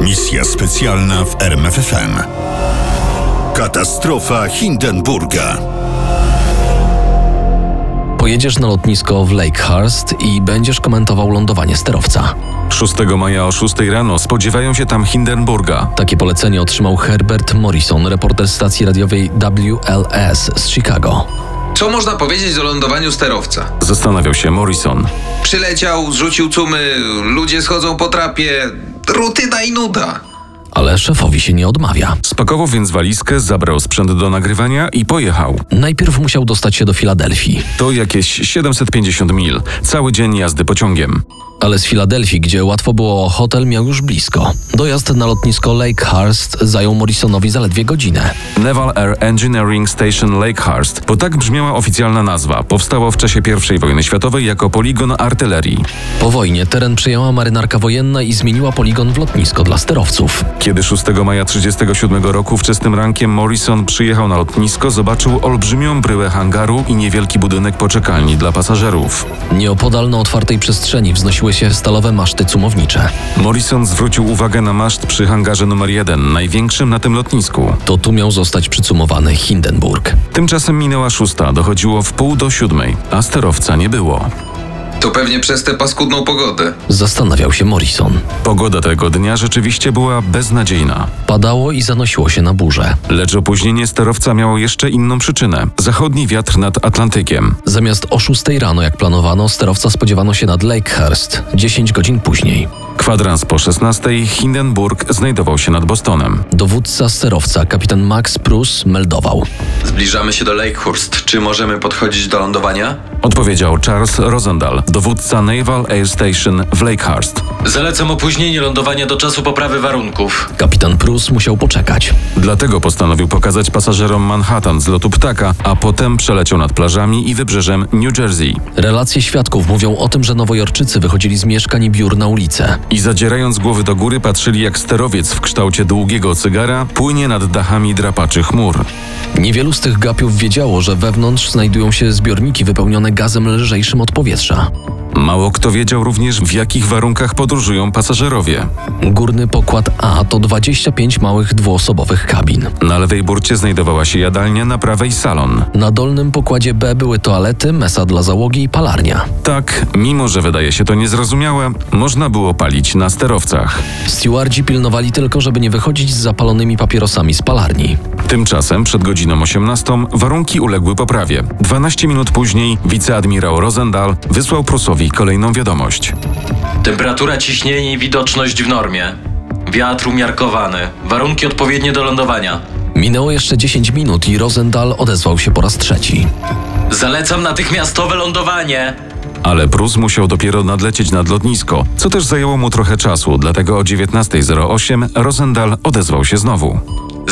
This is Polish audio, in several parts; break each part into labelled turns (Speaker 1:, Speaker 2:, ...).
Speaker 1: Misja specjalna w RMFFM. Katastrofa Hindenburga.
Speaker 2: Pojedziesz na lotnisko w Lakehurst i będziesz komentował lądowanie sterowca.
Speaker 3: 6 maja o 6 rano spodziewają się tam Hindenburga.
Speaker 2: Takie polecenie otrzymał Herbert Morrison, reporter stacji radiowej WLS z Chicago.
Speaker 4: Co można powiedzieć o lądowaniu sterowca?
Speaker 3: Zastanawiał się Morrison.
Speaker 4: Przyleciał, zrzucił cumy, ludzie schodzą po trapie. Rutyna i nuda.
Speaker 2: Ale szefowi się nie odmawia.
Speaker 3: Spakował więc walizkę, zabrał sprzęt do nagrywania i pojechał.
Speaker 2: Najpierw musiał dostać się do Filadelfii,
Speaker 3: To jakieś 750 mil, cały dzień jazdy pociągiem.
Speaker 2: ale z Filadelfii, gdzie łatwo było o hotel, miał już blisko. Dojazd na lotnisko Lakehurst zajął Morrisonowi zaledwie godzinę.
Speaker 3: Naval Air Engineering Station Lakehurst, bo tak brzmiała oficjalna nazwa, powstało w czasie I wojny światowej jako poligon artylerii.
Speaker 2: Po wojnie teren przejęła marynarka wojenna i zmieniła poligon w lotnisko dla sterowców.
Speaker 3: Kiedy 6 maja 1937 roku wczesnym rankiem Morrison przyjechał na lotnisko, zobaczył olbrzymią bryłę hangaru i niewielki budynek poczekalni dla pasażerów.
Speaker 2: Nieopodal na otwartej przestrzeni wznosiły się stalowe maszty cumownicze.
Speaker 3: Morrison zwrócił uwagę na maszt przy hangarze numer 1, największym na tym lotnisku.
Speaker 2: To tu miał zostać przycumowany Hindenburg.
Speaker 3: Tymczasem minęła szósta, dochodziło w pół do siódmej, a sterowca nie było.
Speaker 4: To pewnie przez tę paskudną pogodę.
Speaker 2: Zastanawiał się Morrison.
Speaker 3: Pogoda tego dnia rzeczywiście była beznadziejna.
Speaker 2: Padało i zanosiło się na burze.
Speaker 3: Lecz opóźnienie sterowca miało jeszcze inną przyczynę zachodni wiatr nad Atlantykiem.
Speaker 2: Zamiast o 6 rano, jak planowano, sterowca spodziewano się nad Lakehurst 10 godzin później.
Speaker 3: Kwadrans po 16 Hindenburg znajdował się nad Bostonem.
Speaker 2: Dowódca sterowca, kapitan Max Prus, meldował.
Speaker 5: Zbliżamy się do Lakehurst. Czy możemy podchodzić do lądowania?
Speaker 3: Odpowiedział Charles Rosendahl, dowódca Naval Air Station w Lakehurst.
Speaker 6: Zalecam opóźnienie lądowania do czasu poprawy warunków.
Speaker 2: Kapitan Prus musiał poczekać.
Speaker 3: Dlatego postanowił pokazać pasażerom Manhattan z lotu ptaka, a potem przeleciał nad plażami i wybrzeżem New Jersey.
Speaker 2: Relacje świadków mówią o tym, że nowojorczycy wychodzili z mieszkań i biur na ulicę.
Speaker 3: I zadzierając głowy do góry patrzyli jak sterowiec w kształcie długiego cygara płynie nad dachami drapaczy chmur.
Speaker 2: Niewielu z tych gapiów wiedziało, że wewnątrz znajdują się zbiorniki wypełnione gazem lżejszym od powietrza.
Speaker 3: Mało kto wiedział również w jakich warunkach podróżują pasażerowie.
Speaker 2: Górny pokład A to 25 małych dwuosobowych kabin.
Speaker 3: Na lewej burcie znajdowała się jadalnia, na prawej salon.
Speaker 2: Na dolnym pokładzie B były toalety, mesa dla załogi i palarnia.
Speaker 3: Tak, mimo że wydaje się to niezrozumiałe, można było palić na sterowcach.
Speaker 2: Stewardzi pilnowali tylko, żeby nie wychodzić z zapalonymi papierosami z palarni.
Speaker 3: Tymczasem przed godziną 18 warunki uległy poprawie. 12 minut później wiceadmirał Rosendahl wysłał Prusowi kolejną wiadomość.
Speaker 6: Temperatura, ciśnienie i widoczność w normie. Wiatr umiarkowany. Warunki odpowiednie do lądowania.
Speaker 2: Minęło jeszcze 10 minut i Rosendahl odezwał się po raz trzeci.
Speaker 6: Zalecam natychmiastowe lądowanie.
Speaker 3: Ale Prus musiał dopiero nadlecieć nad lotnisko, co też zajęło mu trochę czasu, dlatego o 19.08 Rosendahl odezwał się znowu.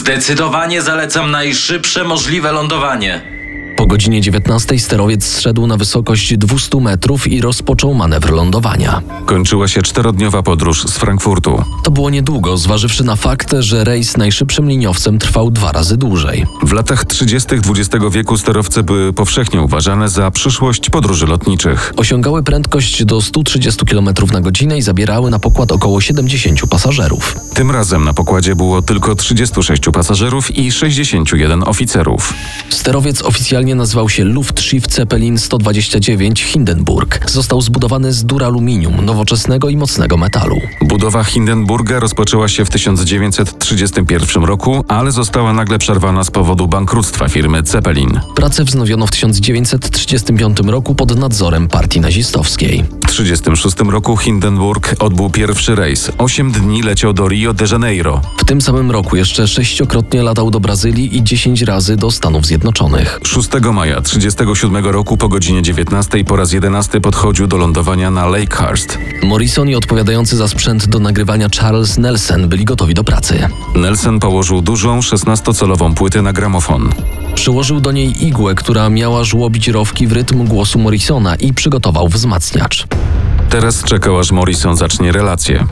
Speaker 6: Zdecydowanie zalecam najszybsze możliwe lądowanie.
Speaker 2: Po godzinie 19 sterowiec zszedł na wysokość 200 metrów i rozpoczął manewr lądowania.
Speaker 3: Kończyła się czterodniowa podróż z Frankfurtu.
Speaker 2: To było niedługo, zważywszy na fakt, że rejs najszybszym liniowcem trwał dwa razy dłużej.
Speaker 3: W latach 30. XX wieku sterowce były powszechnie uważane za przyszłość podróży lotniczych.
Speaker 2: Osiągały prędkość do 130 km na godzinę i zabierały na pokład około 70 pasażerów.
Speaker 3: Tym razem na pokładzie było tylko 36 pasażerów i 61 oficerów.
Speaker 2: Sterowiec oficjalnie nazywał się Luftschiff Zeppelin 129 Hindenburg. Został zbudowany z duraluminium, nowoczesnego i mocnego metalu.
Speaker 3: Budowa Hindenburga rozpoczęła się w 1931 roku, ale została nagle przerwana z powodu bankructwa firmy Zeppelin.
Speaker 2: Pracę wznowiono w 1935 roku pod nadzorem partii nazistowskiej.
Speaker 3: W 1936 roku Hindenburg odbył pierwszy rejs. 8 dni leciał do Rio de Janeiro.
Speaker 2: W tym samym roku jeszcze sześciokrotnie latał do Brazylii i 10 razy do Stanów Zjednoczonych.
Speaker 3: 6 maja 1937 roku po godzinie 19 po raz 11 podchodził do lądowania na Lakehurst.
Speaker 2: Morrison i odpowiadający za sprzęt do nagrywania Charles Nelson byli gotowi do pracy.
Speaker 3: Nelson położył dużą 16-calową płytę na gramofon.
Speaker 2: Przyłożył do niej igłę, która miała żłobić rowki w rytm głosu Morrisona i przygotował wzmacniacz.
Speaker 3: Teraz czekał aż Morrison zacznie relację.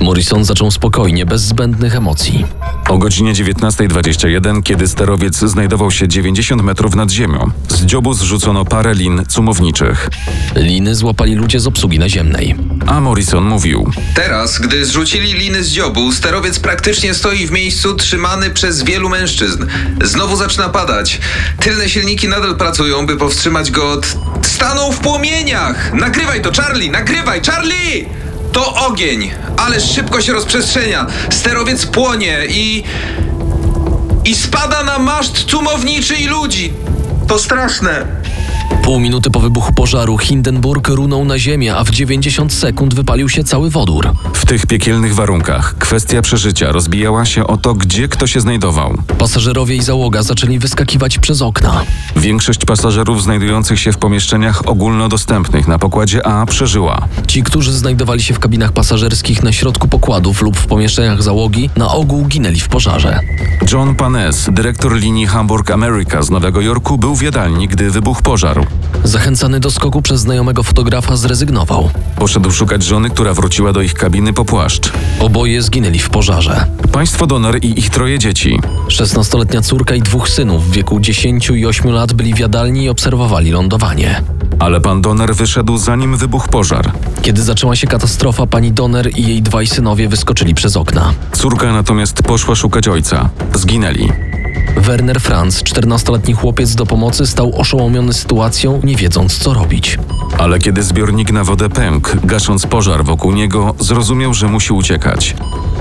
Speaker 2: Morrison zaczął spokojnie, bez zbędnych emocji.
Speaker 3: O godzinie 19.21, kiedy sterowiec znajdował się 90 metrów nad ziemią, z dziobu zrzucono parę lin cumowniczych.
Speaker 2: Liny złapali ludzie z obsługi naziemnej.
Speaker 3: A Morrison mówił:
Speaker 4: Teraz, gdy zrzucili liny z dziobu, sterowiec praktycznie stoi w miejscu trzymany przez wielu mężczyzn. Znowu zaczyna padać. Tylne silniki nadal pracują, by powstrzymać go od... Stanął w płomieniach! Nagrywaj to, Charlie! Nagrywaj, Charlie! To ogień! Ale szybko się rozprzestrzenia! Sterowiec płonie i... I spada na maszt cumowniczy i ludzi! To straszne!
Speaker 2: Pół minuty po wybuchu pożaru Hindenburg runął na ziemię, a w 90 sekund wypalił się cały wodór.
Speaker 3: W tych piekielnych warunkach kwestia przeżycia rozbijała się o to, gdzie kto się znajdował.
Speaker 2: Pasażerowie i załoga zaczęli wyskakiwać przez okna.
Speaker 3: Większość pasażerów znajdujących się w pomieszczeniach ogólnodostępnych na pokładzie A przeżyła.
Speaker 2: Ci, którzy znajdowali się w kabinach pasażerskich na środku pokładów lub w pomieszczeniach załogi, na ogół ginęli w pożarze.
Speaker 3: John Panes, dyrektor linii Hamburg America z Nowego Jorku, był w jadalni, gdy wybuchł pożar.
Speaker 2: Zachęcany do skoku przez znajomego fotografa zrezygnował.
Speaker 3: Poszedł szukać żony, która wróciła do ich kabiny po płaszcz.
Speaker 2: Oboje zginęli w pożarze.
Speaker 3: Państwo Donner i ich troje dzieci.
Speaker 2: 16-letnia córka i dwóch synów w wieku 10 i 8 lat byli w jadalni i obserwowali lądowanie.
Speaker 3: Ale pan Donner wyszedł zanim wybuchł pożar.
Speaker 2: Kiedy zaczęła się katastrofa, pani Donner i jej dwaj synowie wyskoczyli przez okna.
Speaker 3: Córka natomiast poszła szukać ojca. Zginęli.
Speaker 2: Werner Franz, 14-letni chłopiec do pomocy, stał oszołomiony sytuacją, nie wiedząc co robić.
Speaker 3: Ale kiedy zbiornik na wodę pękł, gasząc pożar wokół niego, zrozumiał, że musi uciekać.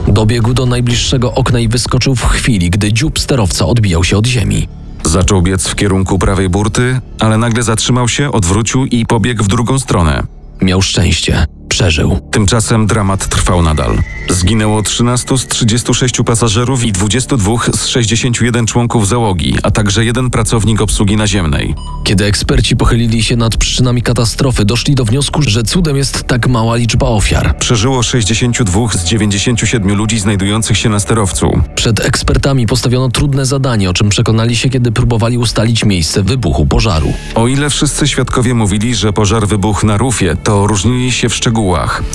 Speaker 2: Dobiegł do najbliższego okna i wyskoczył w chwili, gdy dziób sterowca odbijał się od ziemi.
Speaker 3: Zaczął biec w kierunku prawej burty, ale nagle zatrzymał się, odwrócił i pobiegł w drugą stronę.
Speaker 2: Miał szczęście. Przeżył.
Speaker 3: Tymczasem dramat trwał nadal. Zginęło 13 z 36 pasażerów i 22 z 61 członków załogi, a także jeden pracownik obsługi naziemnej.
Speaker 2: Kiedy eksperci pochylili się nad przyczynami katastrofy, doszli do wniosku, że cudem jest tak mała liczba ofiar.
Speaker 3: Przeżyło 62 z 97 ludzi znajdujących się na sterowcu.
Speaker 2: Przed ekspertami postawiono trudne zadanie, o czym przekonali się, kiedy próbowali ustalić miejsce wybuchu pożaru.
Speaker 3: O ile wszyscy świadkowie mówili, że pożar wybuchł na rufie, to różnili się w szczegółach.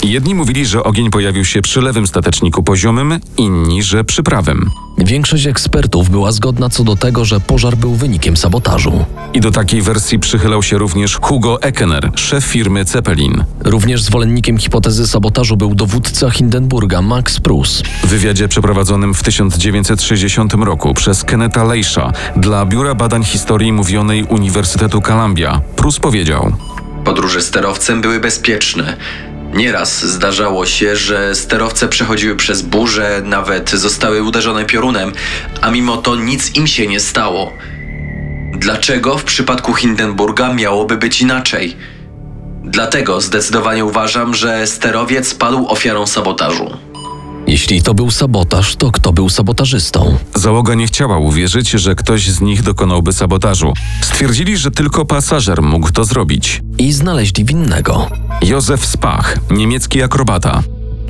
Speaker 3: Jedni mówili, że ogień pojawił się przy lewym stateczniku poziomym, inni, że przy prawym.
Speaker 2: Większość ekspertów była zgodna co do tego, że pożar był wynikiem sabotażu.
Speaker 3: I do takiej wersji przychylał się również Hugo Ekener, szef firmy Zeppelin.
Speaker 2: Również zwolennikiem hipotezy sabotażu był dowódca Hindenburga Max Prus.
Speaker 3: W wywiadzie przeprowadzonym w 1960 roku przez Kenneta Leisha dla Biura Badań Historii Mówionej Uniwersytetu Columbia, Prus powiedział:
Speaker 5: Podróże sterowcem były bezpieczne. Nieraz zdarzało się, że sterowce przechodziły przez burze, nawet zostały uderzone piorunem, a mimo to nic im się nie stało. Dlaczego w przypadku Hindenburga miałoby być inaczej? Dlatego zdecydowanie uważam, że sterowiec padł ofiarą sabotażu.
Speaker 2: Jeśli to był sabotaż, to kto był sabotażystą?
Speaker 3: Załoga nie chciała uwierzyć, że ktoś z nich dokonałby sabotażu. Stwierdzili, że tylko pasażer mógł to zrobić.
Speaker 2: I znaleźli winnego.
Speaker 3: Józef Spach, niemiecki akrobata.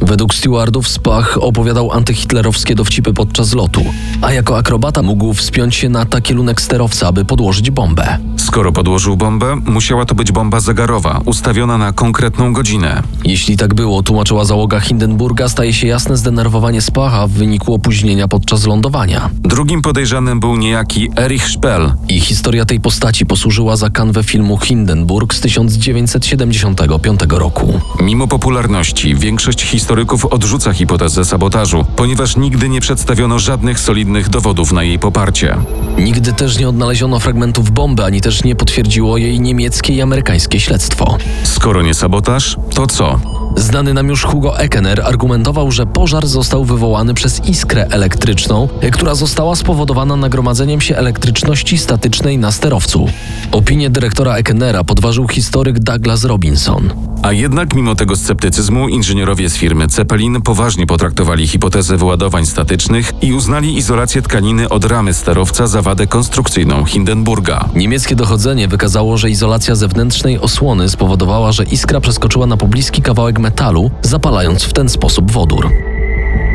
Speaker 2: Według stewardów Spach opowiadał antyhitlerowskie dowcipy podczas lotu, a jako akrobata mógł wspiąć się na takielunek sterowca, aby podłożyć bombę.
Speaker 3: Skoro podłożył bombę, musiała to być bomba zegarowa, ustawiona na konkretną godzinę.
Speaker 2: Jeśli tak było, tłumaczyła załoga Hindenburga, staje się jasne zdenerwowanie Spacha w wyniku opóźnienia podczas lądowania.
Speaker 3: Drugim podejrzanym był niejaki Erich Spell,
Speaker 2: I historia tej postaci posłużyła za kanwę filmu Hindenburg z 1975 roku.
Speaker 3: Mimo popularności, większość historyków odrzuca hipotezę sabotażu, ponieważ nigdy nie przedstawiono żadnych solidnych dowodów na jej poparcie.
Speaker 2: Nigdy też nie odnaleziono fragmentów bomby, ani też nie potwierdziło jej niemieckie i amerykańskie śledztwo.
Speaker 3: Skoro nie sabotaż, to co?
Speaker 2: Znany nam już Hugo Ekener argumentował, że pożar został wywołany przez iskrę elektryczną, która została spowodowana nagromadzeniem się elektryczności statycznej na sterowcu. Opinię dyrektora Ekenera podważył historyk Douglas Robinson.
Speaker 3: A jednak mimo tego sceptycyzmu inżynierowie z firmy Zeppelin poważnie potraktowali hipotezę wyładowań statycznych i uznali izolację tkaniny od ramy sterowca za wadę konstrukcyjną Hindenburga.
Speaker 2: Niemieckie dochodzenie wykazało, że izolacja zewnętrznej osłony spowodowała, że iskra przeskoczyła na pobliski kawałek metalu, zapalając w ten sposób wodór.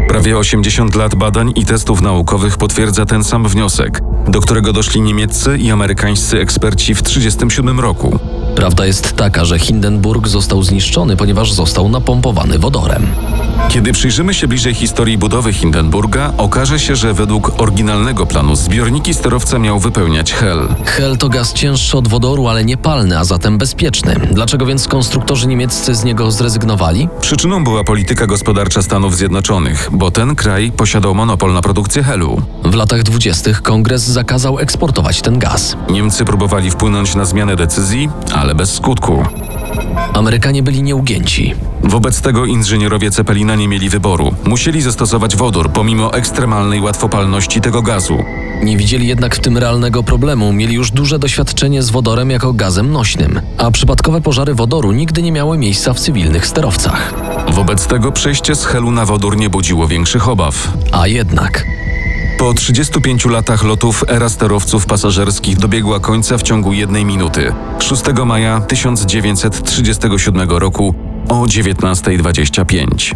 Speaker 3: Prawie 80 lat badań i testów naukowych potwierdza ten sam wniosek, do którego doszli niemieccy i amerykańscy eksperci w 1937 roku.
Speaker 2: Prawda jest taka, że Hindenburg został zniszczony, ponieważ został napompowany wodorem.
Speaker 3: Kiedy przyjrzymy się bliżej historii budowy Hindenburga, okaże się, że według oryginalnego planu zbiorniki sterowca miał wypełniać Hel.
Speaker 2: Hel to gaz cięższy od wodoru, ale niepalny, a zatem bezpieczny. Dlaczego więc konstruktorzy niemieccy z niego zrezygnowali?
Speaker 3: Przyczyną była polityka gospodarcza Stanów Zjednoczonych, bo ten kraj posiadał monopol na produkcję Helu.
Speaker 2: W latach 20. kongres zakazał eksportować ten gaz.
Speaker 3: Niemcy próbowali wpłynąć na zmianę decyzji, ale bez skutku.
Speaker 2: Amerykanie byli nieugięci.
Speaker 3: Wobec tego inżynierowie Cepelina nie mieli wyboru. Musieli zastosować wodór pomimo ekstremalnej łatwopalności tego gazu.
Speaker 2: Nie widzieli jednak w tym realnego problemu, mieli już duże doświadczenie z wodorem jako gazem nośnym, a przypadkowe pożary wodoru nigdy nie miały miejsca w cywilnych sterowcach.
Speaker 3: Wobec tego przejście z Helu na wodór nie budziło większych obaw.
Speaker 2: A jednak
Speaker 3: Po 35 latach lotów era sterowców pasażerskich dobiegła końca w ciągu jednej minuty. 6 maja 1937 roku o 19.25.